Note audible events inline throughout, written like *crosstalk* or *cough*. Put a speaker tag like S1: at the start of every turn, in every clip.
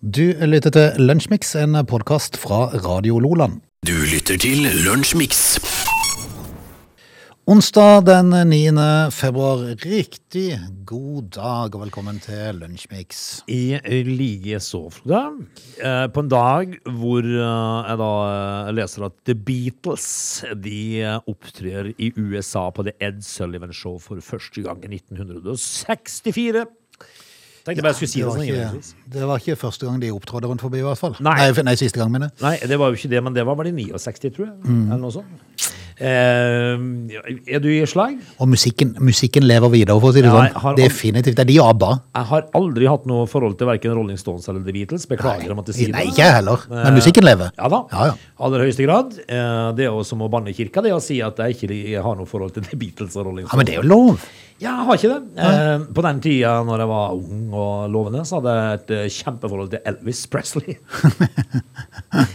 S1: Du lytter til Lunsjmix, en podkast fra Radio Loland.
S2: Du lytter til Lunsjmix.
S1: Onsdag den 9. februar. Riktig god dag og velkommen til Lunsjmix.
S3: I like så, Frode. Eh, På en dag hvor eh, jeg da eh, leser at The Beatles de eh, opptrer i USA på The Ed Sullivan Show for første gang i 1964. Tenkte bare jeg skulle si
S1: Det
S3: det
S1: var,
S3: sånn.
S1: ikke,
S3: innledningsvis.
S1: det var ikke første gang de opptrådde rundt forbi, i hvert fall.
S3: Nei.
S1: nei, nei, siste gang, mener jeg.
S3: Nei, det var jo ikke det, men det var vel i 69, tror jeg.
S1: Mm.
S3: Eller noe sånt. Eh, er du i slag?
S1: Og musikken, musikken lever videre, for å si det
S3: Ja, jeg
S1: sånn.
S3: har aldri-
S1: Definitivt. Det er de og ABBA.
S3: Jeg har aldri hatt noe forhold til verken Rolling Stones eller The Beatles. Beklager om at jeg sier
S1: Nei,
S3: det. Eh,
S1: ikke jeg heller. Men musikken lever.
S3: Ja da.
S1: Ja, ja.
S3: Aller høyeste grad. Eh, Det er jo som å banne i kirka, det å si at jeg ikke li- har noe forhold til The Beatles og Rolling
S1: Ja, Men
S3: Stones.
S1: det er jo lov. *laughs*
S3: Ja, jeg har ikke det. Eh, På den tida når jeg var ung og lovende, så hadde jeg et eh, kjempeforhold til Elvis
S1: *laughs*
S3: Presley.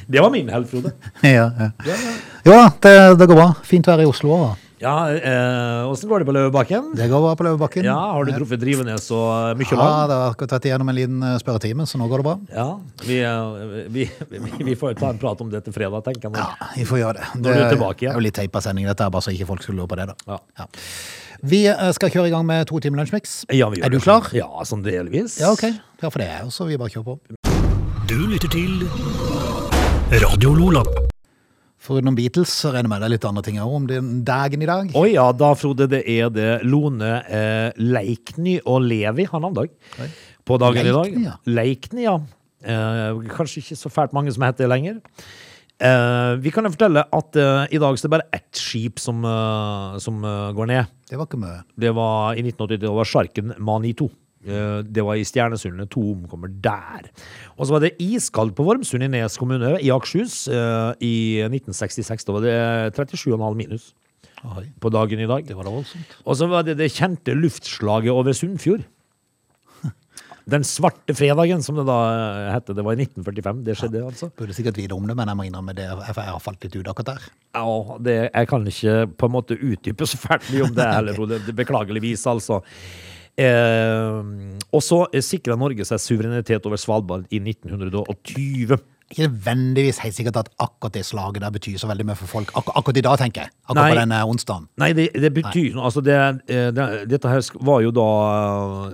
S3: Det var min helt, Frode.
S1: Ja, ja.
S3: Ja, ja.
S1: Jo da, det, det går bra. Fint vær i Oslo òg.
S3: Ja, eh, åssen går det på Løvebakken?
S1: Det går bra på Løvebakken.
S3: Ja, har du truffet Drivenes og eh,
S1: Ja,
S3: Mykjåland?
S1: det har akkurat vært igjennom en liten eh, spørretime, så nå går det bra.
S3: Ja, vi, eh, vi, vi, vi får ta en prat om det til fredag, tenker jeg. nå.
S1: Ja, vi får gjøre det.
S3: Nå er du tilbake igjen.
S1: er jo litt teip av sending, dette, her, bare så ikke folk skulle lure på det. da.
S3: Ja.
S1: Ja. Vi eh, skal kjøre i gang med to timer lunsjmix.
S3: Ja, vi gjør
S1: er du
S3: det.
S1: klar?
S3: Ja, sånn delvis.
S1: Ja, ok. Ja, for det er jo så vi bare kjører på.
S2: Du lytter til Radio Lola.
S1: Foruten Beatles så regner jeg med det er litt andre ting òg om den dagen i dag.
S3: Å ja, da, Frode, det er det Lone eh, Leikny og Levi har navnedag
S1: Oi.
S3: på dagen
S1: Leikny,
S3: i
S1: ja.
S3: dag. Leikny, ja. Eh, kanskje ikke så fælt mange som heter det lenger. Eh, vi kan jo fortelle at eh, i dag så er det bare ett skip som, eh, som eh, går ned.
S1: Det var ikke mye.
S3: Det var i 1980, det var sjarken Manito. Eh, Det var i Stjernesundet. To omkommer der. Og så var det iskaldt på Vormsund i Nes kommune i Akershus eh, i 1966. Da var det 37,5 minus
S1: Oi,
S3: på dagen i dag.
S1: det var da voldsomt.
S3: Og så var det det kjente luftslaget over Sunnfjord. Den svarte fredagen, som det da eh, hette. Det var i 1945. Det skjedde, altså.
S1: Burde sikkert vite om det, men jeg må innrømme det. Jeg jeg har falt litt ut akkurat der.
S3: Ja, det, jeg kan ikke på en måte utdype så fælt mye om det heller, Frode. Det- Beklageligvis, altså. Eh, og så sikra Norge seg suverenitet over Svalbard i 1920.
S1: Ikke nødvendigvis helt sikkert at akkurat det slaget der betyr så veldig mye for folk. Akkur akkurat i dag, tenker jeg. Akkurat på
S3: Nei.
S1: denne onsdagen.
S3: Nei, det, det betyr noe. Altså, det, eh, det, dette her sk- var jo da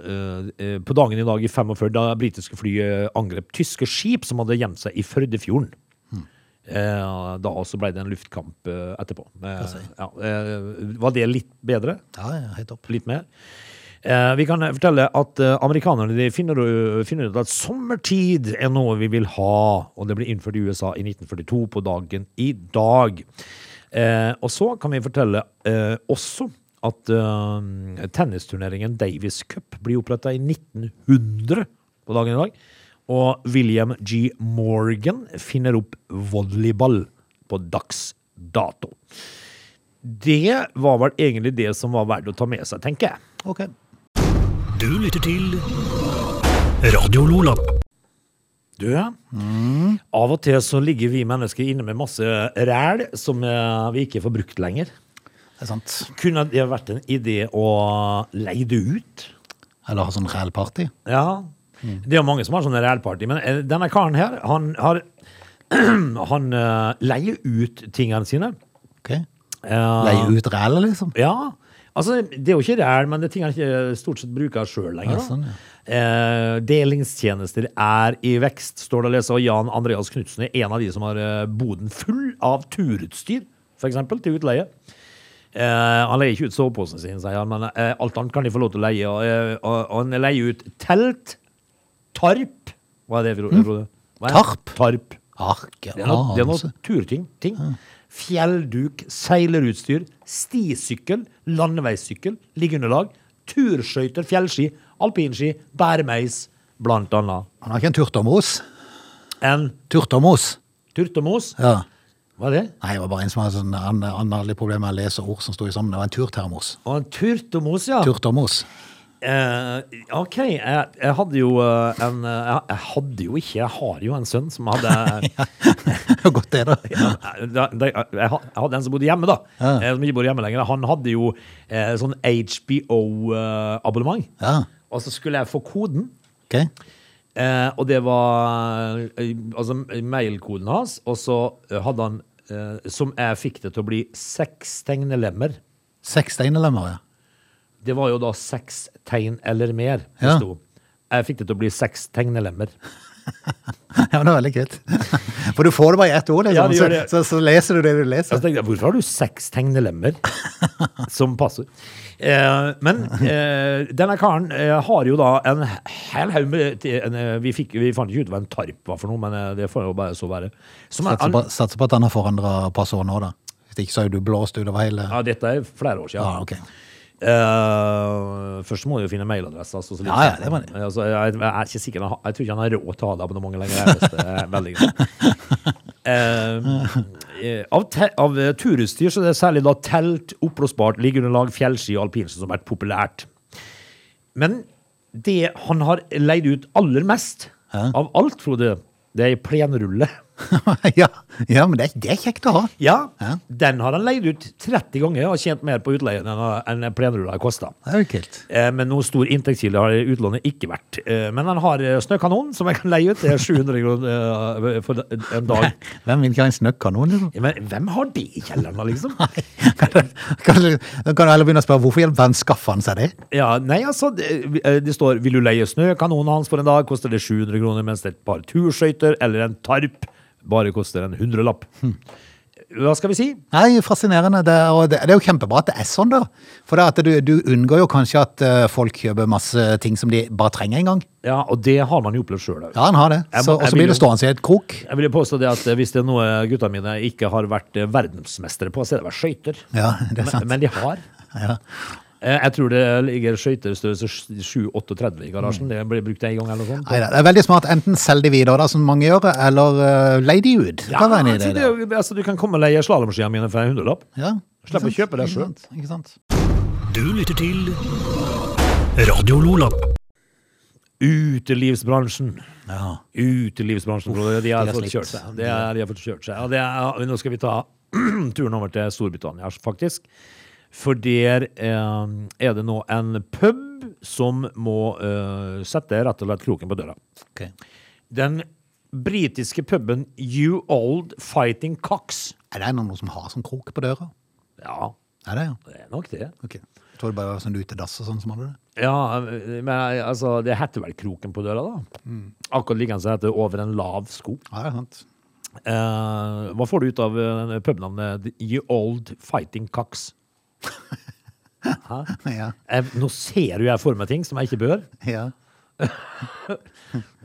S3: eh, eh, På dagen i dag i 45, da britiske fly eh, angrep tyske skip som hadde gjemt seg i Førdefjorden. Eh, da også ble det en luftkamp eh, etterpå. Eh, ja, eh, var det litt bedre?
S1: Ja, ja, helt opp.
S3: Litt mer? Eh, vi kan fortelle at eh, amerikanerne de finner, finner ut at sommertid er noe vi vil ha. Og det ble innført i USA i 1942 på dagen i dag. Eh, og så kan vi fortelle eh, også at eh, tennisturneringen Davis Cup blir oppretta i 1900 på dagen i dag. Og William G. Morgan finner opp volleyball på dags dato. Det var vel egentlig det som var verdt å ta med seg, tenker jeg.
S1: Ok.
S2: Du lytter til Radio Lola.
S3: Du, av og til så ligger vi mennesker inne med masse ræl som eh, vi ikke får brukt lenger.
S1: Det er sant.
S3: Kunne det vært en idé å leie det ut?
S1: Eller ha sånn reell party.
S3: Ja. Det er jo mange som har sånne rælparty, men eh, denne karen her, han har *clears throat* Han eh, leier ut tingene sine.
S1: Ok.
S3: Eh,
S1: Leie ut reell, liksom.
S3: Ja. Altså, det er jo ikke ræl, men det er ting han ikke eh, stort sett bruker sjøl lenger.
S1: Ja,
S3: da.
S1: sånn, ja.
S3: eh, delingstjenester er i vekst, står det å lese. Og Jan Andreas Knutsen er en av de som har eh, boden full av turutstyr, f.eks. til utleie. Eh, han leier ikke ut soveposen sin, sier han, men eh, alt annet kan de få lov til å leie. Og, eh, og, og han leier ut telt, tarp Hva er det, Frode? Frode? Hva er det?
S1: Hm? Tarp?
S3: Tarp.
S1: Arke,
S3: Det er noe, det er
S1: anelse.
S3: noe turting. Ting. Fjellduk, seilerutstyr, stisykkel, landeveissykkel, liggeunderlag, turskøyter, fjellski, alpinski, bæremeis, blant annet.
S1: Han har ikke en turtomros.
S3: En
S1: Turtomros.
S3: turtomos.
S1: Ja.
S3: Hva er det?
S1: Nei, det var bare en som hadde sånn, han, han hadde litt problemer med å lese ord som sto i sammen. Det var en turtermos.
S3: Og en turtomos, ja.
S1: Turtomos.
S3: Eh, OK, jeg, jeg hadde jo eh, en eh, Jeg jeg hadde jo ikke, jeg har jo en sønn som hadde
S1: *laughs* Godt det, da.
S3: Ja, da, da, jeg ha- jeg hadde en som bodde hjemme, da.
S1: Ja.
S3: eh, Som ikke bodde hjemme lenger. Han hadde jo eh, sånn HBO-abonnement.
S1: Ja.
S3: Og så skulle jeg få koden.
S1: Ok.
S3: Eh, og det var eh, altså, mailkoden hans, og så eh, hadde han eh, Som jeg fikk det til å bli seks tegnelemmer.
S1: Seks steinelemmer, ja. *laughs*
S3: Det var jo da seks tegn eller mer. det
S1: Ja.
S3: sto. Jeg fikk det til å bli seks tegnelemmer.
S1: Ja, men det er veldig kult. *laughs* For du får det bare i ett ord,
S3: Ja,
S1: liksom.
S3: det gjør det.
S1: Så, så, så leser du det du
S3: Så
S1: leser.
S3: tenkte jeg, Altså, Hvorfor har du seks
S1: *laughs*
S3: tegnelemmer som passord? Eh, men eh, denne karen eh, har jo da en hel haug med en, eh, vi, fikk, vi fant ikke ut hva en tarp var for noe, men eh, det får jo bare så være. Som er,
S1: Satser
S3: han,
S1: på, satser på at han har forandra passord nå, da. Hvis ikke så er jo du blåst utover hele
S3: ja, dette er flere år siden.
S1: Ja, Ah, ok.
S3: Eh, først må du jo finne mailadresse. Altså, så litt-
S1: Ja, ja, det må du.
S3: Altså, jeg, jeg er ikke sikker, han har- jeg tror ikke han har råd til å ha det abonnementet lenger. jeg vet det, jeg er veldig glad. Eh, eh, av, te, av eh, turutstyr så er det særlig da telt, oppblåsbart, liggeunderlag, fjellski og alpinski som har vært populært. Men det han har leid ut aller mest
S1: Ja.
S3: av alt, Frode, det er ei plenrulle.
S1: *laughs* ja, ja, men det, er- det er kjekt å ha.
S3: Ja,
S1: Ja.
S3: den har han leid ut 30 ganger og tjent mer på utleien enn enn plenrulla har kosta.
S1: Det er jo kult.
S3: Eh, Men noen stor inntektskilde har utlånet ikke vært. Eh, Men han har eh, snøkanon, som jeg kan leie ut. Det er 700 kroner eh, for en
S1: *laughs*
S3: dag.
S1: Hvem vil ikke ha en snøkkanon, liksom? *laughs*
S3: Men hvem har det i kjelleren, da, liksom?
S1: Kan du, kan du, da kan du heller begynne å spørre hvorfor i all verden skaffer han seg det?
S3: Ja, nei, altså, det, eh, det står 'Vil du leie snøkanonen hans for en dag?' Koster det 700 kroner, mens et par turskøyter eller en tarp bare koster en hundrelapp.
S1: Hm.
S3: Hva skal vi si?
S1: Nei, fascinerende. Det er, og det, det er jo kjempebra at det er sånn, da. For det at du, du unngår jo kanskje at eh, folk kjøper masse ting som de bare trenger en gang.
S3: Ja, og det har man jo opplevd altså. sjøl òg.
S1: Ja, han har det.
S3: Jeg
S1: Så,
S3: må-
S1: og
S3: jeg
S1: så blir
S3: vil
S1: det stående i et krok.
S3: Jeg vil jo påstå det at eh, hvis det er noe gutta mine ikke har vært eh, verdensmestere på, så er det vel skøyter.
S1: Ja, det er
S3: Men,
S1: sant.
S3: men de har.
S1: Ja.
S3: Eh, Jeg tror det ligger skøyter størrelse 7-38 i
S1: Mm.
S3: garasjen. Det blir brukt en gang eller noe sånt.
S1: Neida, det er veldig smart. Enten selg de videre, da, som mange gjør, eller uh, leie de ut. Det
S3: Ja,
S1: kan være en idé,
S3: altså, det
S1: det.
S3: er jo- altså, du kan komme og leie slalåmskia mine for en hundrelapp.
S1: Ja.
S3: Slipp å
S1: Ikke sant?
S3: kjøpe det
S1: Ikke
S3: selv.
S1: sant? Ikke sant?
S2: Du lytter til Radio Lola.
S3: Utelivsbransjen.
S1: Ja.
S3: Utelivsbransjen, bror. De har
S1: de har
S3: fått
S1: slitt.
S3: kjørt seg. Det er, de har fått kjørt seg. Og det er, nå skal vi ta *clears throat* turen over til Storbritannia, faktisk. For der eh, er det nå en pub som må eh, sette rett og slett kroken på døra.
S1: Ok.
S3: Den britiske puben You Old Fighting Cocks.
S1: Er det noen som har sånn krok på døra?
S3: Ja,
S1: Er det, ja?
S3: Det er nok det.
S1: Ok. Jeg tror det bare var sånn utedass og sånn som hadde det.
S3: Ja, men altså, det heter vel kroken på døra, da. Akkurat like som det heter over en lav sko.
S1: Ja, det er sant. *laughs*
S3: Eh, hva får du ut av eh, pubnavnet The Ye Old Fighting Cocks?
S1: Ja.
S3: Eh, nå ser jo jeg for meg ting som jeg ikke bør.
S1: ja.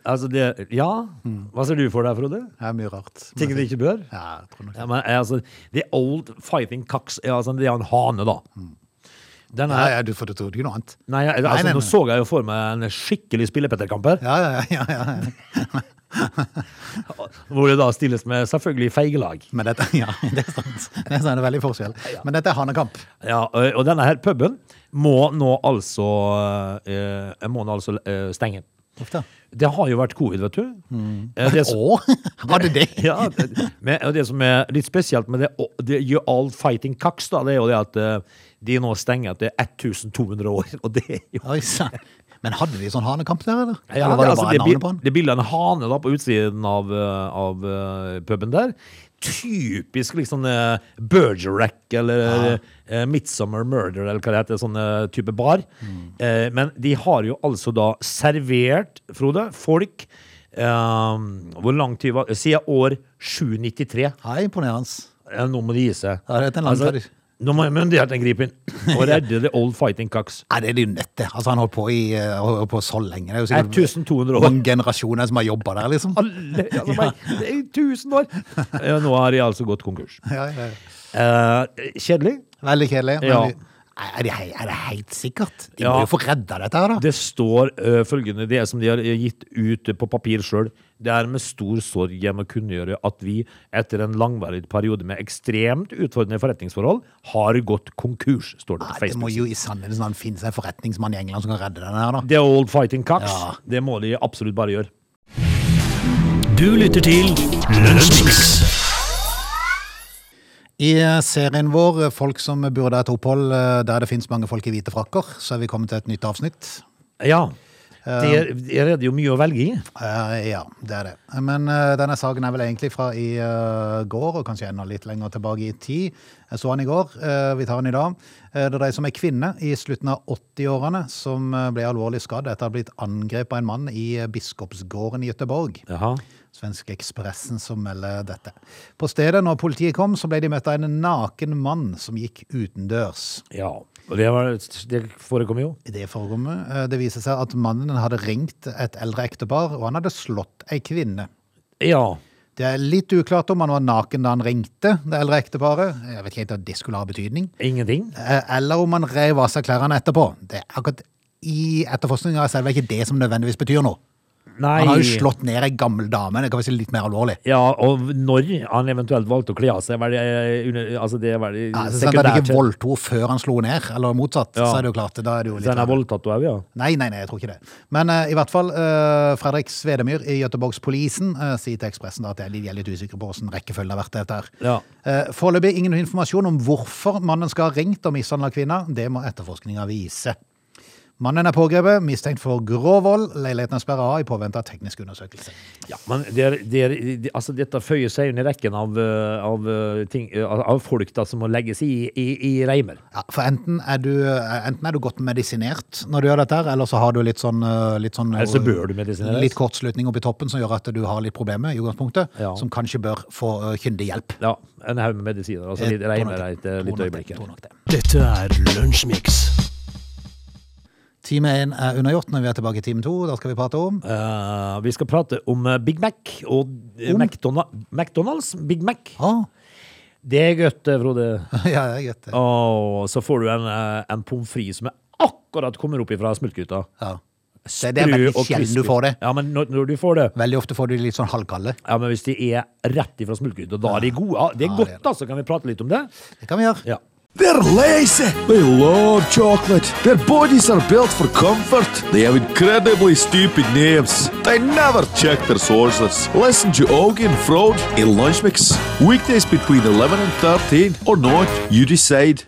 S3: Altså, det Ja.
S1: Mm.
S3: Hva ser du for deg, Frode?
S1: Det er mye rart.
S3: Ting du ikke bør?
S1: Ja, jeg tror nok.
S3: Ja, men eh, altså, The Old Fighting Cocks ja, altså, Det er en hane, da. Den
S1: Mm. Ja,
S3: er
S1: ja, du for du trodde jo noe annet.
S3: Nei, altså,
S1: Nei, nei, nei.
S3: nå så jeg jo for meg en skikkelig spillepetterkamp her.
S1: Ja, ja, ja. ja, ja.
S3: Hvor det da stilles med selvfølgelig feigelag.
S1: Men dette, ja, *laughs* det er sant. Det er sant, det er veldig forskjell. Men dette er hanekamp.
S3: Ja, og og denne her puben må nå altså, eh, må nå altså eh, stenge.
S1: Uff da.
S3: Det har jo vært covid, vet du. Eh, det som-
S1: Å, har du det?
S3: *laughs* ja, det- men og det som er litt spesielt med det, og det You All Fighting Cocks, da, det er jo det at eh, de nå stenger etter 1200 år. Og det er jo
S1: Oi, sann. Men hadde de sånn hanekamp der, eller?
S3: Ja,
S1: eller var det
S3: altså,
S1: bare
S3: det,
S1: navnet på han?
S3: bil- det bildet av en hane da, på utsiden av, eh, av eh, puben der. Typisk liksom uh, Bergerac eller eh, Midsummer Murder eller hva det heter, sånn eh, type bar.
S1: Mm.
S3: Eh, men de har jo altså da servert, Frode, folk eh, Hvor lang tid var Siden år 793.
S1: Ja, imponerende.
S3: Eh, nå må de gi seg. Altså,
S1: Ja, det er en lang tradisjon.
S3: nå må myndighetene gripe inn
S1: *laughs*
S3: og redde the old fighting cocks.
S1: Nei, det er jo nødt til. Altså, han holdt på, i, eh, holdt på så lenge. Det er jo
S3: Eh,
S1: sikkert
S3: 1200 år.
S1: mange generasjoner som har jobba der, liksom.
S3: Alle, altså, bare, det er i tusen
S1: *laughs*
S3: år. Ja, nå har de altså gått konkurs.
S1: Ja, ja, ja.
S3: Eh, kjedelig.
S1: Veldig kjedelig. men
S3: Ja.
S1: vi- Nei, Er, det, hei- er det helt sikkert? De
S3: Ja.
S1: må jo få redda dette her, da.
S3: Det står eh, følgende, det som de har gitt ut på papir sjøl. Det er med stor sorg jeg må kunngjøre at vi, etter en langvarig periode med ekstremt utfordrende forretningsforhold, har gått konkurs, står det
S1: Nei,
S3: på
S1: Ah, det må
S3: Facebook.
S1: jo i sannheten sånn, finnes en forretningsmann i England som kan redde denne her, da.
S3: The old fighting cocks.
S1: Ja.
S3: Det må de absolutt bare gjøre.
S2: Du lytter til Lunsjmix.
S1: I eh, serien vår, Folk som eh, burde ha et opphold, eh, der det finnes mange folk i hvite frakker, så er vi kommet til et nytt avsnitt.
S3: Ja. Det er det jo mye å velge i.
S1: Eh, ja, det er det. Men eh, denne saken er vel egentlig fra i eh, går, og kanskje enda litt lenger tilbake i tid. Jeg så han i går, eh, vi tar han i dag. Eh, det dreier seg om ei kvinne i slutten av 80-årene som eh, ble alvorlig skadd etter å ha blitt angrepet av en mann i eh, Biskopsgården i Göteborg.
S3: Jaha.
S1: Svenske Ekspressen som melder dette. På stedet, når politiet kom, så ble de møtt av en naken mann som gikk utendørs.
S3: Ja. Og det, var, det forekom jo.
S1: I det forrommet eh, det viser seg at mannen hadde ringt et eldre ektepar, og han hadde slått ei kvinne.
S3: Ja.
S1: Det er litt uklart om han var naken da han ringte det eldre ekteparet. Jeg vet ikke helt at det skulle ha betydning.
S3: Ingenting.
S1: Eh, Eller om han rev av seg klærne etterpå. Det er akkurat I etterforskninga er selve ikke det som nødvendigvis betyr noe.
S3: Nei.
S1: Han har jo slått ned ei gammel dame. Det kan være litt mer alvorlig.
S3: Ja, og når han eventuelt valgte å kle av seg, var det eh, under, altså det var det
S1: Ja, så sant at han
S3: sekundært.
S1: ikke voldtok før han slo ned, eller motsatt,
S3: Ja.
S1: så er det jo klart. Da er det jo
S3: Så
S1: litt
S3: han er
S1: verre.
S3: voldtatt òg, ja.
S1: Nei, nei, nei, jeg tror ikke det. Men eh, i hvert fall, eh, Fredrik Svedemyr i Göteborgspolisen uh, sier til Ekspressen da at de er litt usikre på hvordan rekkefølgen har vært dette her.
S3: Ja.
S1: Eh, Foreløpig ingen informasjon om hvorfor mannen skal ha ringt og mishandla kvinna. Det må etterforskninga vise. Mannen er pågrepet, mistenkt for grov vold. Leiligheten er sperra av i påvente av teknisk undersøkelse.
S3: ja men det er, det er, det, altså dette føyer seg inn i rekken av, eh, av, eh, ting, eh, av av folk da, som må legges i, i, i reimer.
S1: Ja, for enten er, du, enten er du godt medisinert når du gjør dette, her, eller så har du litt sånn, eh, litt sånn eh,
S3: Eller så bør du medisineres.
S1: Litt kortslutning oppi toppen som gjør at du har litt problemer i utgangspunktet,
S3: Ja.
S1: som kanskje bør få eh, kyndig hjelp.
S3: Ja, En haug med medisiner. altså litt
S1: Jeg tror nok
S3: Reimer er
S1: det.
S3: et eh,
S1: Tror nok
S3: lite
S1: det.
S3: øyeblikk. her.
S1: Tror nok det.
S2: Dette er Lunsjmix.
S1: Time én er undergjort når vi er tilbake i time to. Da skal vi prate om
S3: Eh, vi skal prate om eh, Big Mac og eh,
S1: Om?
S3: McDonald- McDonald's. Big Mac.
S1: ah,
S3: Det er godt, eh, Frode.
S1: *laughs* Ja, det er greit. det.
S3: Og så får du en, eh, en pommes frites som er akkurat kommer opp ifra smultgryta.
S1: Ja. Det, det er
S3: Sprø
S1: veldig
S3: og
S1: sjelden du
S3: crispy.
S1: får det.
S3: Ja, men når, når du får det
S1: Veldig ofte får du litt sånn halvkalde.
S3: Ja, men Hvis de er rett ifra smultgryta, da er de gode. Ja, det er
S1: Ja, det
S3: godt,
S1: er
S3: da, så kan vi prate litt om det.
S1: Det kan vi gjøre.
S3: Ja.
S4: They're lazy. They love chocolate. Their bodies are built for comfort. They have incredibly stupid names. They never check their sources. Listen to Augie and Frode in Lunch Mix. Weekdays between 11 and 13 or not, you decide.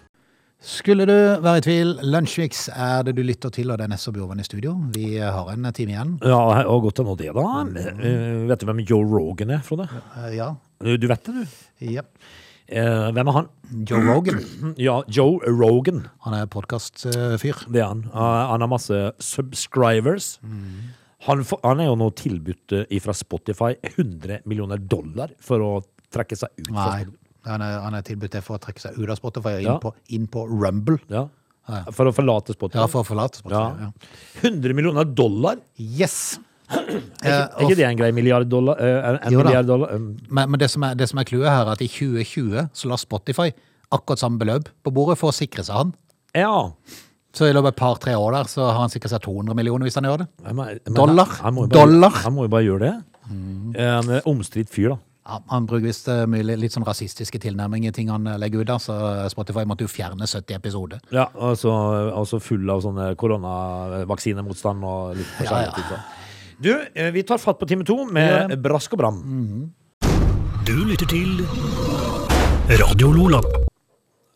S1: Skulle du være i tvil, Lunsjmix er det du lytter til, og det er Nesse Bjorvann i studio. Vi har en time igjen.
S3: ja, og godt å nå det, da. Eh, vet du hvem Joe Rogan er, Frode?
S1: Eh, Ja.
S3: Du, du vet det, du.
S1: ja.
S3: Eh, hvem er han? *clears throat*
S1: Joe Rogan.
S3: Ja, Joe Rogan.
S1: Han er podkastfyr.
S3: Det er han. Eh, han har masse subscribers. Han, får- han er jo nå tilbudt eh, fra Spotify 100 millioner dollar for å trekke seg ut. fra
S1: Nei. Han er, han er tilbudt det for å trekke seg ut av Spotify og inn,
S3: Ja.
S1: på, inn på Rumble.
S3: Ja. For å forlate Spotify?
S1: Ja, for å forlate Spotify.
S3: Ja.
S1: Ja.
S3: 100 millioner dollar?
S1: Yes!
S3: Er
S1: Eh,
S3: ikke, er ikke det en grei milliard dollar? eh, en- en
S1: Jo da.
S3: milliard dollar? Um,
S1: Men, men det som er, det som er clouet her, er at i 2020 så la Spotify akkurat samme beløp på bordet for å sikre seg han.
S3: ja.
S1: Så i løpet av et par-tre år der så har han sikret seg 200 millioner hvis han gjør det.
S3: Jeg må- jeg må-
S1: Dollar.
S3: Han må jo bare,
S1: Dollar. Mm.
S3: Han må jo bare gjøre det. Eh, En omstridt fyr, da.
S1: Ja, han bruker visst eh, mye li- litt sånn rasistiske tilnærminger i ting han eh, legger ut der, så Spotify måtte jo fjerne 70 episoder.
S3: Ja, altså, altså full av sånne koronavaksinemotstand og litt
S1: Ja,
S3: forskjellig.
S1: ja.
S3: typer. Du, eh, vi tar fatt på time to med brask og bram.
S1: Mm.
S2: Du lytter til Radio Lola.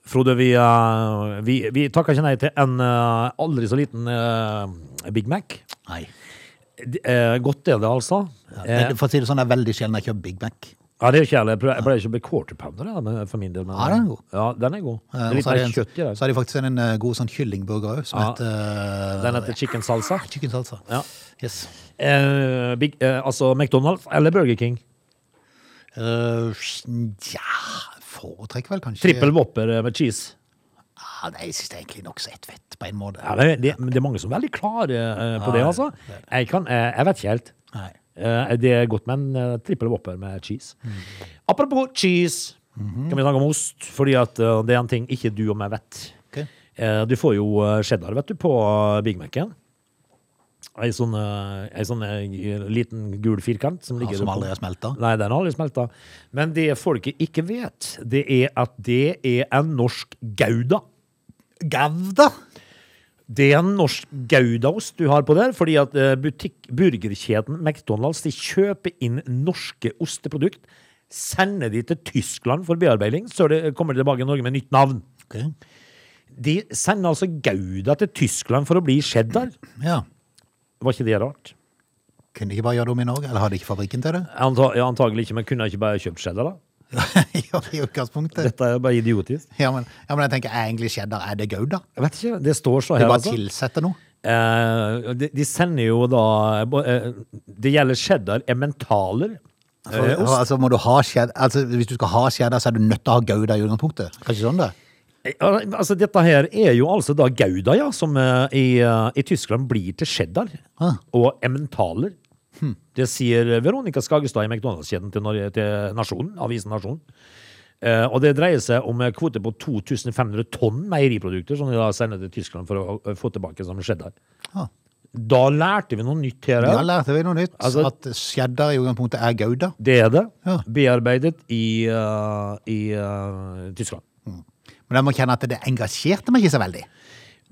S3: Frode, vi, eh, vi, vi takker ikke nei til en eh, aldri så liten eh, Big Mac.
S1: Nei.
S3: D- eh, godt er det, altså. Eh,
S1: Men For å si det sånn, det er veldig sjelden jeg kjøper Big Mac.
S3: Ja, det er ikke heller. Jeg prøver- Jeg pleier ikke å bli quarter pounder da, men- for min del. Men,
S1: Ja, den er god.
S3: Ja, den er god. Det
S1: Eh,
S3: er
S1: og
S3: litt
S1: så har de
S3: mer
S1: en-
S3: kjøtt i
S1: Så
S3: den.
S1: har de faktisk en, en eh, god sånn kyllingburger òg, som
S3: Ja.
S1: heter eh,
S3: Den heter chicken salsa.
S1: Chicken salsa.
S3: Ja.
S1: Yes.
S3: Eh, big, eh, altså McDonald's eller Burger King.
S1: Eh, ja Foretrekker vel kanskje
S3: Trippel whopper eh, med cheese.
S1: Ja, det jeg synes det er egentlig nokså ett vett, på en måte.
S3: Ja, det, det, men det er mange som er veldig klare eh, på det, altså. Jeg, kan, eh, jeg vet ikke helt.
S1: Nei.
S3: Eh, det er godt med en eh, trippel whopper med cheese.
S1: Mm.
S3: Apropos cheese,
S1: Mhm.
S3: kan vi snakke om ost? Fordi at eh, det er en ting ikke du og meg vet.
S1: Ok.
S3: Eh, Du får jo eh, cheddar, vet du, på eh, Big Mac-en. Ei sånn, eh, ei sånn eh, liten gul firkant som ligger
S1: som
S3: oppå.
S1: aldri er smelta.
S3: Nei, den har aldri smelta. Men det folket ikke vet, det er at det er en norsk gouda.
S1: Gavda!
S3: Det er en norsk goudaost du har på der, fordi at eh, butikk, burgerkjeden McDonald's de kjøper inn norske osteprodukt, sender de til Tyskland for bearbeiding, så det kommer tilbake i Norge med nytt navn.
S1: Ok.
S3: De sender altså gouda til Tyskland for å bli cheddar.
S1: Ja.
S3: Var ikke det rart?
S1: Kunne de ikke bare gjøre det om i Norge? Eller hadde de ikke fabrikken til det? *laughs*
S3: Anta, ja, antagelig ikke, men kunne jeg ikke bare kjøpt cheddar, da?
S1: Ja, I utgangspunktet.
S3: Dette er bare idiotisk.
S1: Ja men, ja, men jeg tenker egentlig cheddar. Er det gouda?
S3: Jeg vet ikke, det står så
S1: Det
S3: her,
S1: bare
S3: altså.
S1: tilsetter noe.
S3: Eh, de, de sender jo da bo- eh, Det gjelder cheddar emmentaler.
S1: For,
S3: Eh, ost.
S1: altså, må du ha cheddar, altså, hvis du skal ha cheddar, så er du nødt til å ha gouda i utgangspunktet. Er ikke sånn det?
S3: Eh, Altså, dette her er jo altså da gouda, ja, som eh, i, eh, i Tyskland blir til cheddar
S1: Ah. Hm.
S3: og emmentaler. Det sier Veronica Skagestad i McDonald's-kjeden til, Norge- til Nasjonen, avisen Nasjonen. Eh, og det dreier seg om en kvote på 2500 tonn meieriprodukter som de da sender til Tyskland for å eh, få tilbake som cheddar.
S1: Ah.
S3: Da lærte vi noe nytt her.
S1: Ja,
S3: ja.
S1: lærte vi noe nytt.
S3: Altså-
S1: at cheddar i utgangspunktet er gouda.
S3: Det er det.
S1: Ja.
S3: Bearbeidet i, eh, i eh, Tyskland.
S1: Men jeg må kjenne at det engasjerte meg ikke så veldig.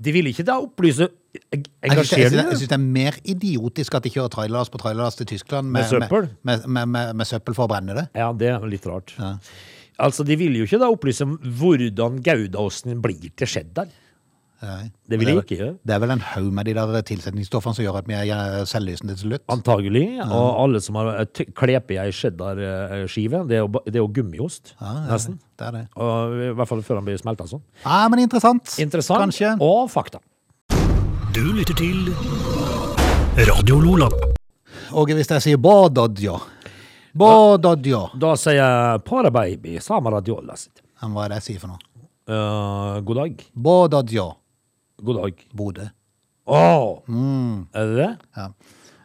S3: De ville ikke da opplyse eng-
S1: Jeg syns det, jeg
S3: Engasjerer
S1: synes- jeg
S3: de?
S1: synes det er mer idiotisk at de kjører trailerlass på trailerlass til Tyskland
S3: Med søppel?
S1: Med, med, med, med søppel for å brenne det.
S3: Ja, det er litt rart. Altså, De ville jo ikke da opplyse om hvordan goudaosten blir til cheddar.
S1: Nei.
S3: Det vil de ikke gjøre.
S1: Det er vel en haug med de der tilsetningsstoffene som gjør at vi er eh, selvlysende til slutt.
S3: Antagelig. Og alle som har eh, t- kleper i ei cheddarskive, det er jo ba- det er jo gummiost, nesten.
S1: Det er det.
S3: Og, I hvert fall før den blir smelta sånn.
S1: Ja, men interessant.
S3: Interessant.
S1: Kanskje.
S3: Og fakta.
S2: Du lytter til Radio Lola.
S1: Og hvis jeg sier Bådodjo Bådodjo
S3: Da sier jeg parababy, samer adiola sitt.
S1: Hva er det jeg sier for noe?
S3: Eh, god dag.
S1: Bådodjo
S3: God dag.
S1: Bodø.
S3: Åh! Er det det?
S1: Ja.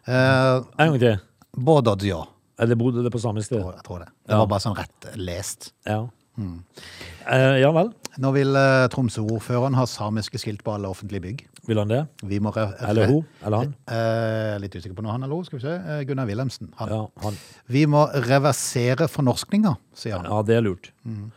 S1: Eh,
S3: En gang til.
S1: Bådodjo.
S3: Er det bodde det på samme sted?
S1: Jeg tror det. Det
S3: Ja.
S1: var bare sånn rett lest.
S3: Ja. Eh, ja vel.
S1: Nå vil eh, Tromsø-ordføreren ha samiske skilt på alle offentlige bygg.
S3: Vil han det?
S1: Vi må re-
S3: Eller hun? Eller han?
S1: Eh, litt usikker på når han er lov, skal vi se. Eh, Gunnar Wilhelmsen. Han.
S3: Ja, han.
S1: Vi må reversere fornorskninga, sier han.
S3: ja det er lurt.
S1: Mm.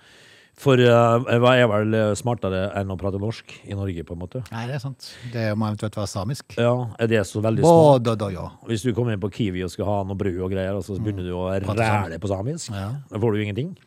S3: For eh, hva er vel eh, smartere enn å prate norsk i Norge, på en måte?
S1: Nei, det er sant. Det må eventuelt være samisk.
S3: Ja, er det så veldig smart?
S1: Bådodjo.
S3: Hvis du kommer inn på Kiwi og skal ha noe brød og greier, og så
S1: Mm.
S3: begynner du å
S1: sam-
S3: ræle på samisk,
S1: Ja.
S3: da får du jo ingenting.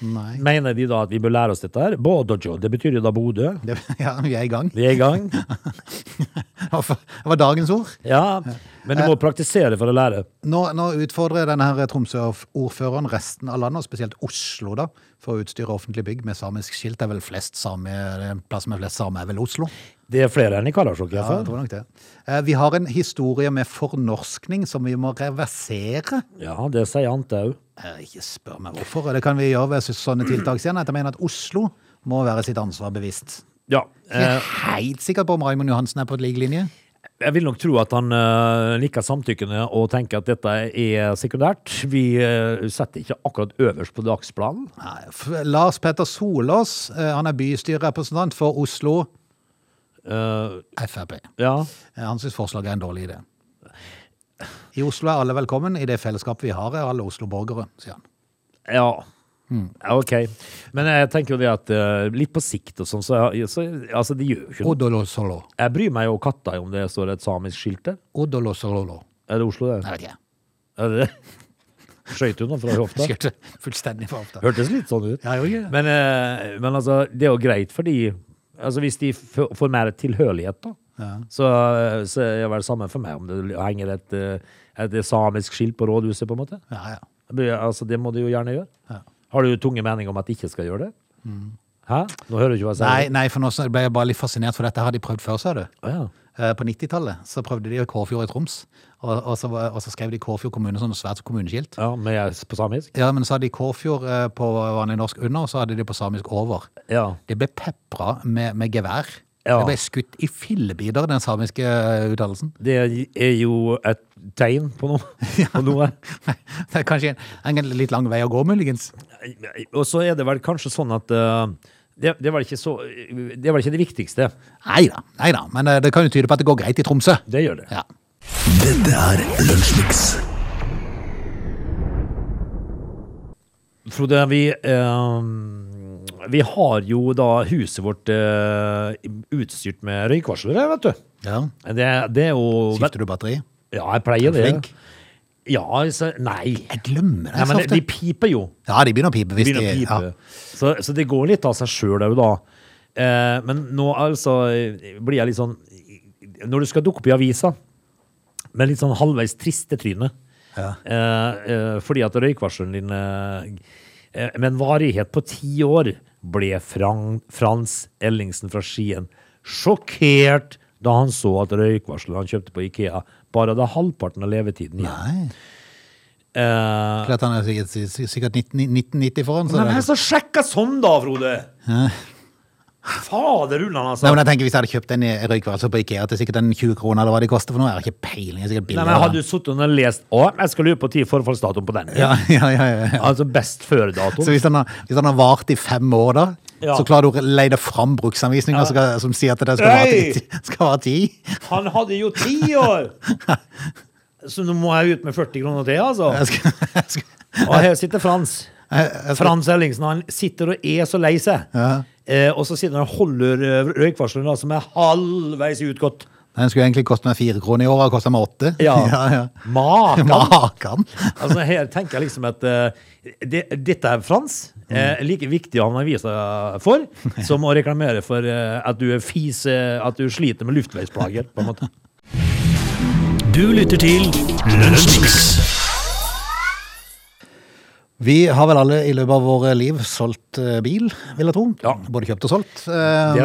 S1: Nei.
S3: Mener de da at vi bør lære oss dette her? Bådojo, det betyr jo da Bodø.
S1: Det, *laughs* ja, vi er i gang.
S3: Vi er
S1: *laughs*
S3: i gang.
S1: Det var dagens ord.
S3: Ja, men du
S1: Eh.
S3: må praktisere for å lære.
S1: Nå, nå utfordrer denne her Tromsø-ordføreren resten av landet, og spesielt Oslo, da, for å utstyre offentlige bygg med samisk skilt. Det er vel flest same, den plassen med flest same er vel Oslo?
S3: Det er flere enn i Karasjok, i
S1: Ja,
S3: hvert fall.
S1: jeg tror nok det. Eh, Vi har en historie med fornorskning som vi må reversere.
S3: Ja, det sier Ante òg.
S1: Eh, Ikke spør meg hvorfor. Det kan vi gjøre ved sånne tiltak senere. Jeg mener at Oslo må være sitt ansvar bevisst.
S3: Ja.
S1: Jeg
S3: Eh,
S1: er helt sikker på om Raymond Johansen er på et lik linje.
S3: jeg vil nok tro at han eh, liker samtykkene og tenker at dette er sekundært. Vi eh, setter ikke akkurat øverst på dagsplanen.
S1: Nei, f- Lars Petter Solås, eh, han er bystyrerepresentant for Oslo
S3: Eh,
S1: Frp.
S3: ja.
S1: Eh, Han syns forslaget er en dårlig idé. I Oslo er alle velkommen. I det fellesskapet vi har, er alle Oslo-borgere, sier han.
S3: Ja. Ja, OK. Men jeg tenker jo det at eh, litt på sikt og sånn, så, så Altså, de gjør jo ikke noe.
S1: Odolosolo.
S3: Jeg bryr meg jo katta om det står et samisk skilt der.
S1: Odolosololo.
S3: Er det Oslo, det?
S1: Jeg vet ikke.
S3: Er det *laughs* det? Skøyt hun nå fra hofta?
S1: Skjønte fullstendig for ofte.
S3: Hørtes litt sånn ut.
S1: Ja, jo, ja.
S3: Men, eh, men altså, det er jo greit fordi altså, Hvis de f- får mer tilhørighet, da, så, så er det vel samme for meg om det henger et, eh, et samisk skilt på rådhuset, på en måte.
S1: Ja, ja.
S3: Det blir- Altså, det må de jo gjerne gjøre. Har du tunge meninger om at de ikke skal gjøre det? Hæ? Nå hører du ikke hva jeg sier.
S1: Nei, nei, for nå så ble jeg bare litt fascinert, for dette har de prøvd før, sa du.
S3: Å, ja.
S1: Eh, På 90-tallet så prøvde de Kårfjord i Troms, og, og, så, var- og så skrev de Kårfjord kommune som et svært kommuneskilt.
S3: ja, men jeg er på samisk?
S1: Ja, men så hadde de Kårfjord eh, på vanlig norsk under, og så hadde de på samisk over.
S3: Ja.
S1: Det ble pepra med, med gevær.
S3: Ja.
S1: Det ble skutt i fillebiter, den samiske eh, uttalelsen. *laughs*
S3: Det er jo et tegn på noe. På noe.
S1: Det er kanskje en, en litt lang vei å gå, muligens.
S3: Og så er det vel kanskje sånn at eh, det, det, var ikke så, det er vel ikke det viktigste.
S1: Nei da, nei da, men eh, det kan jo tyde på at det går greit i Tromsø.
S3: Det gjør det.
S1: Ja.
S2: Dette er Lunsjmix.
S3: Frode, vi, eh, vi har jo da huset vårt eh, utstyrt med røykvarslere, vet du.
S1: ja.
S3: Det, det er jo
S1: Skifter du batteri?
S3: Ja, jeg pleier det.
S1: Flink.
S3: Ja, altså, nei.
S1: Jeg glemmer det
S3: nei
S1: så
S3: men
S1: ofte.
S3: de piper jo.
S1: Ja, de begynner å pipe. Hvis
S3: Begynner å
S1: de,
S3: pipe.
S1: Ja.
S3: Så, så det går litt av seg sjøl òg, da. Eh, men nå altså eh, blir jeg litt sånn Når du skal dukke opp i avisa, med litt sånn halvveis triste tryne.
S1: Ja.
S3: Eh, eh, fordi at røykvarselen din eh, eh, med en varighet på ti år ble Frank, Frans Ellingsen fra Skien sjokkert da han så at røykvarselet han kjøpte på Ikea, bare hadde halvparten av levetiden igjen.
S1: Nei.
S3: Eh,
S1: Klart han er sikkert, sikkert 19, 1990 foran. Så
S3: men
S1: det
S3: hvem
S1: er.
S3: som sjekker sånn, da, Frode? Fader ullan, altså.
S1: Nei, men jeg tenker Hvis jeg hadde kjøpt en i- røykvarsel på Ikea til sikkert en 20 kroner, eller hva de koster for noe, jeg har ikke peiling. Jeg er sikkert
S3: Nei,
S1: billigere.
S3: men Hadde du sittet og lest Å, jeg skal lure på ti forfallsdatoen på den.
S1: ja, ja, ja, ja, ja.
S3: Altså best
S1: Så
S3: før-datoen.
S1: hvis han, har, hvis han har vart i fem år, da,
S3: Ja.
S1: så klarer du å leie deg fram bruksanvisninger som skal- som sier at det skal vare
S3: Hei!
S1: til ti- skal vare ti?
S3: Han hadde jo ti
S1: *laughs*
S3: år! Så nå må jeg ut med 40 kroner til, altså.
S1: Jeg skal, jeg skal,
S3: Og her sitter Frans.
S1: jeg, jeg skal,
S3: Frans Ellingsen han sitter og er så lei seg.
S1: Ja.
S3: Eh, og så sitter han og holder eh, røykvarsleren da, som er halvveis utgått.
S1: den skulle egentlig koste meg fire kroner i år, og kosta meg åtte. ja, ja.
S3: Makan!
S1: Makan!
S3: Altså Her tenker jeg liksom at eh, det, dette er Frans. Eh,
S2: Mm.
S3: like viktig han har vist seg for
S2: *laughs*
S3: som å reklamere for eh, at du er fis, eh, at du sliter med luftveisplager. på en måte.
S2: Du lytter til Lunsjmix.
S1: Vi har vel alle i løpet av våre liv solgt eh, bil, vil jeg tro.
S3: Ja.
S1: Både kjøpt og solgt.
S3: Det har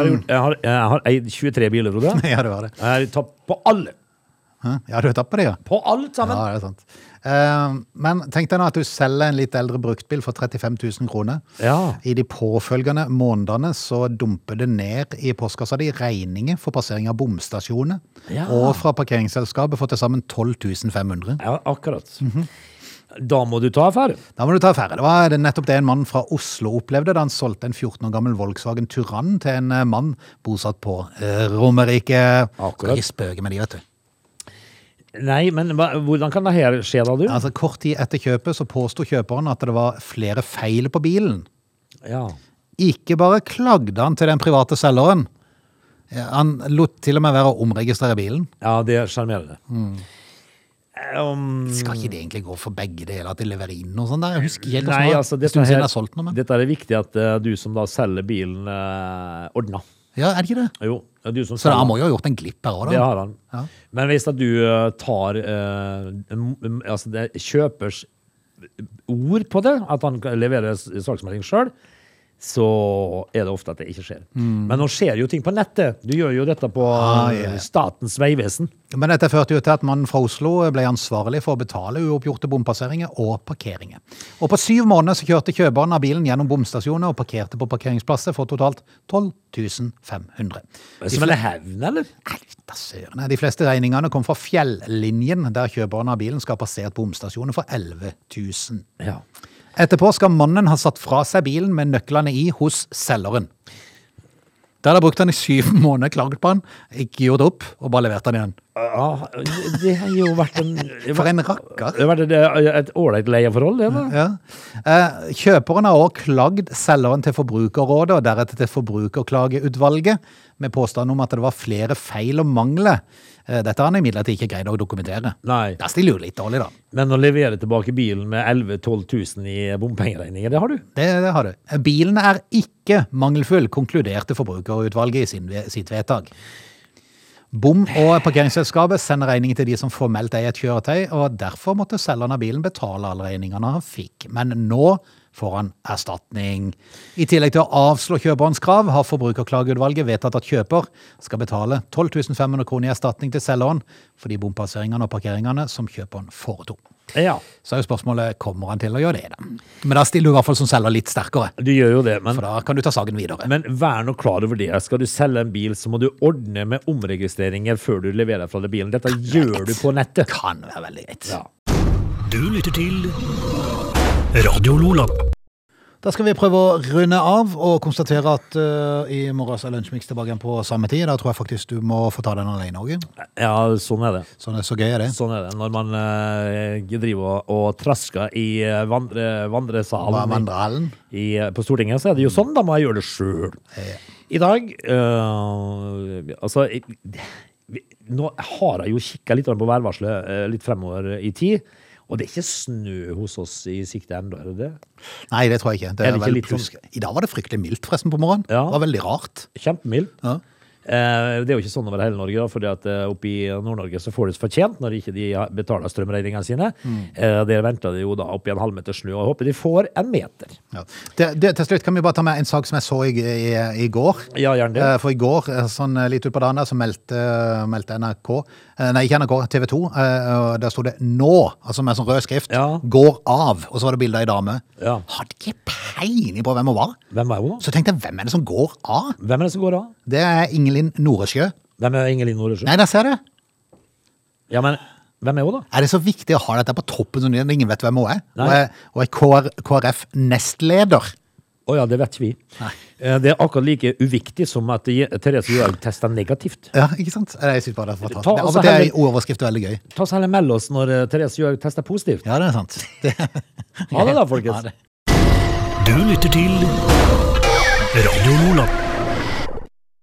S1: Eh,
S3: jeg,
S2: Um,
S3: gjort. jeg, har, jeg har eid 23 biler, Frode.
S1: *laughs* Ja, det var det.
S3: Jeg har tatt på alle.
S1: Hæ? Ja, du har tatt på det, ja.
S3: På alt
S1: Ja,
S3: sammen.
S1: det er sant. Eh, men tenk deg nå at du selger en litt eldre bruktbil for 35 000 kroner.
S3: Ja.
S1: I de påfølgende månedene så dumper det ned i postkassa di regninger for passering av bomstasjoner.
S3: Ja.
S1: Og fra parkeringsselskapet for til sammen 12 500.
S3: Ja, akkurat.
S2: Mhm.
S3: Da må du ta affære.
S1: Da må du ta affære. Det var det- nettopp det en mann fra Oslo opplevde da han solgte en 14 år gammel Volkswagen Turan til en eh, mann bosatt på eh, Romerike. Skal
S3: Akkurat.
S1: ikke spøke med de, vet du.
S3: Nei, men hva, hvordan kan det her skje, da, du?
S1: Altså, kort tid etter kjøpet så påsto kjøperen at det var flere feil på bilen.
S3: Ja.
S1: Ikke bare klagde han til den private selgeren. Eh, Han lot til og med være å omregistrere bilen.
S3: ja, det er sjarmerende.
S2: Mm.
S3: Um,
S1: Skal ikke det egentlig gå for begge deler, at de leverer inn noe sånt der? Jeg husker helt
S3: nei, altså,
S1: det
S3: dette,
S1: stund siden jeg
S3: her,
S1: har solgt noe, men
S3: dette er det viktig at eh, du som da selger bilen, uh, ordner.
S1: Ja, er det ikke det?
S3: Jo, det er du som
S1: Så
S3: selger.
S1: han må jo ha gjort en glipp her òg,
S3: Det
S1: da.
S3: har han.
S1: Ja.
S3: Men hvis at du eh, tar eh, m- m- altså det er kjøpers ord på det, at han leverer s- saksmelding sjøl, så er det ofte at det ikke skjer. Men nå skjer jo ting på nettet. Du gjør jo dette på
S1: Mm. Ah, ja, ja.
S3: eh, Statens vegvesen.
S1: Men dette førte jo til at mannen fra Oslo ble ansvarlig for å betale uoppgjorte bompasseringer og parkeringer. Og på syv måneder så kjørte kjøperen av bilen gjennom bomstasjoner og parkerte på parkeringsplasser for totalt 12 500.
S3: Som en hevn, eller?
S1: Da søren. De fleste regningene kom fra fjellinjen, der kjøperen av bilen skal ha passert bomstasjonen for 11 000.
S3: Ja.
S1: Etterpå skal mannen ha satt fra seg bilen med nøklene i hos selgeren. Der har brukt han i syv *laughs* måneder, klaget på han, ikke gjort opp, og bare levert han igjen.
S3: Ah, det har jo vært en
S1: For en rakker!
S3: Det har vært et, eh, et ålreit leieforhold, det, da.
S1: Ja. Eh, Kjøperen har også klagd selgeren til Forbrukerrådet og deretter til Forbrukerklageutvalget med påstand om at det var flere feil og mangler. Eh, Dette har han imidlertid ikke greid å dokumentere.
S3: Nei.
S1: Der stiller du litt dårlig, da.
S3: Men å levere tilbake bilen med 11 000-12 000 i bompengeregninger, det har du.
S1: Det, det har du. Bilen er ikke mangelfull, konkluderte forbrukerutvalget i sin, sitt vedtak. Bom- og parkeringsselskapet sender regningen til de som formelt eier et kjøretøy, og derfor måtte selgeren av bilen betale alle regningene han fikk. Men nå får han erstatning. I tillegg til å avslå kjøperens krav, har Forbrukerklageutvalget vedtatt at kjøper skal betale 12 500 kroner i erstatning til selgeren for de bompasseringene og parkeringene som kjøperen foretok.
S3: Ja.
S1: Så er jo spørsmålet kommer han til å gjøre det. da? Men da stiller du i hvert fall som selger litt sterkere,
S3: Du gjør jo det, men
S1: for da kan du ta saken videre.
S3: Men vær nå klar over det. Skal du selge en bil, så må du ordne med omregistreringer før du leverer fra deg bilen. Dette gjør du på nettet.
S1: Kan være veldig greit.
S3: Ja.
S2: Du lytter til Radio Lola.
S1: Da skal vi prøve å runde av og konstatere at eh, i morgen så er Lunsjmix tilbake igjen på samme tid. Da tror jeg faktisk du må få ta den alene òg.
S3: ja, sånn er det.
S1: Sånn er så gøy er det.
S3: Sånn er det når man eh, driver og, og trasker i eh, vandre,
S1: Hva
S3: vandresalen
S1: er Mandalen?
S3: i, på Stortinget, så er det jo sånn. Da må jeg gjøre det sjøl. I dag eh, Altså jeg- vi- Nå har jeg jo kikka litt på værvarselet eh, litt fremover i tid. Og det er ikke snø hos oss i sikte ennå, er det det?
S1: Nei, det tror jeg ikke. Det er
S3: Er det ikke
S1: vel
S3: litt sånn-
S1: pluss- I dag var det fryktelig mildt forresten på morgenen.
S3: Ja.
S1: Det var veldig rart.
S3: Kjempemild.
S1: Ja.
S3: Eh, Det er jo ikke sånn over hele Norge, da, fordi at eh, oppe i Nord-Norge så får du det fortjent når ikke de har- betaler strømregningene sine.
S1: Mm.
S3: Eh, Der venter de jo da oppi en halvmeter snø, og jeg håper de får en meter.
S1: Ja. Det, det, til slutt kan vi bare ta med en sak som jeg så i, i, i går.
S3: Ja, gjerne det.
S1: Eh, For i går, eh, sånn eh, litt utpå dagen, der, så meldte, meldte NRK eh, Nei, ikke NRK, TV 2. Der sto det 'nå', altså med sånn rød skrift.
S3: Ja.
S1: 'Går av'. Og så var det bilde av ei dame.
S3: Ja.
S1: Hadde ikke peiling på hvem hun var.
S3: Hvem er hun, da?
S1: Så tenkte jeg, hvem er det som går av?
S3: Hvem er det som går av?
S1: Det er Ingelin Noresjø.
S3: Hvem er Ingelin Noresjø?
S1: Nei, der ser du!
S3: Ja, men hvem er hun, da?
S1: Er det så viktig å ha dette på toppen som det er, når ingen vet hvem hun er?
S3: Nei.
S1: Og er, og er KR, KrF-nestleder.
S3: Å ja, det vet ikke vi. Eh, Det er akkurat like uviktig som at Je- Therese Johaug tester negativt.
S1: Ja, ikke sant? Nei, Jeg synes bare det er fantastisk. Det
S3: Ta-
S1: er- Av
S3: altså,
S1: og til er
S3: heller-
S1: overskrift veldig gøy.
S3: Ta oss heller meld oss når eh, Therese Johaug tester positivt.
S1: Ja, det er sant. Det,
S3: *laughs* Ha det, da,
S1: Ha
S3: folkens.
S1: det.
S2: Du lytter til Radio Lola.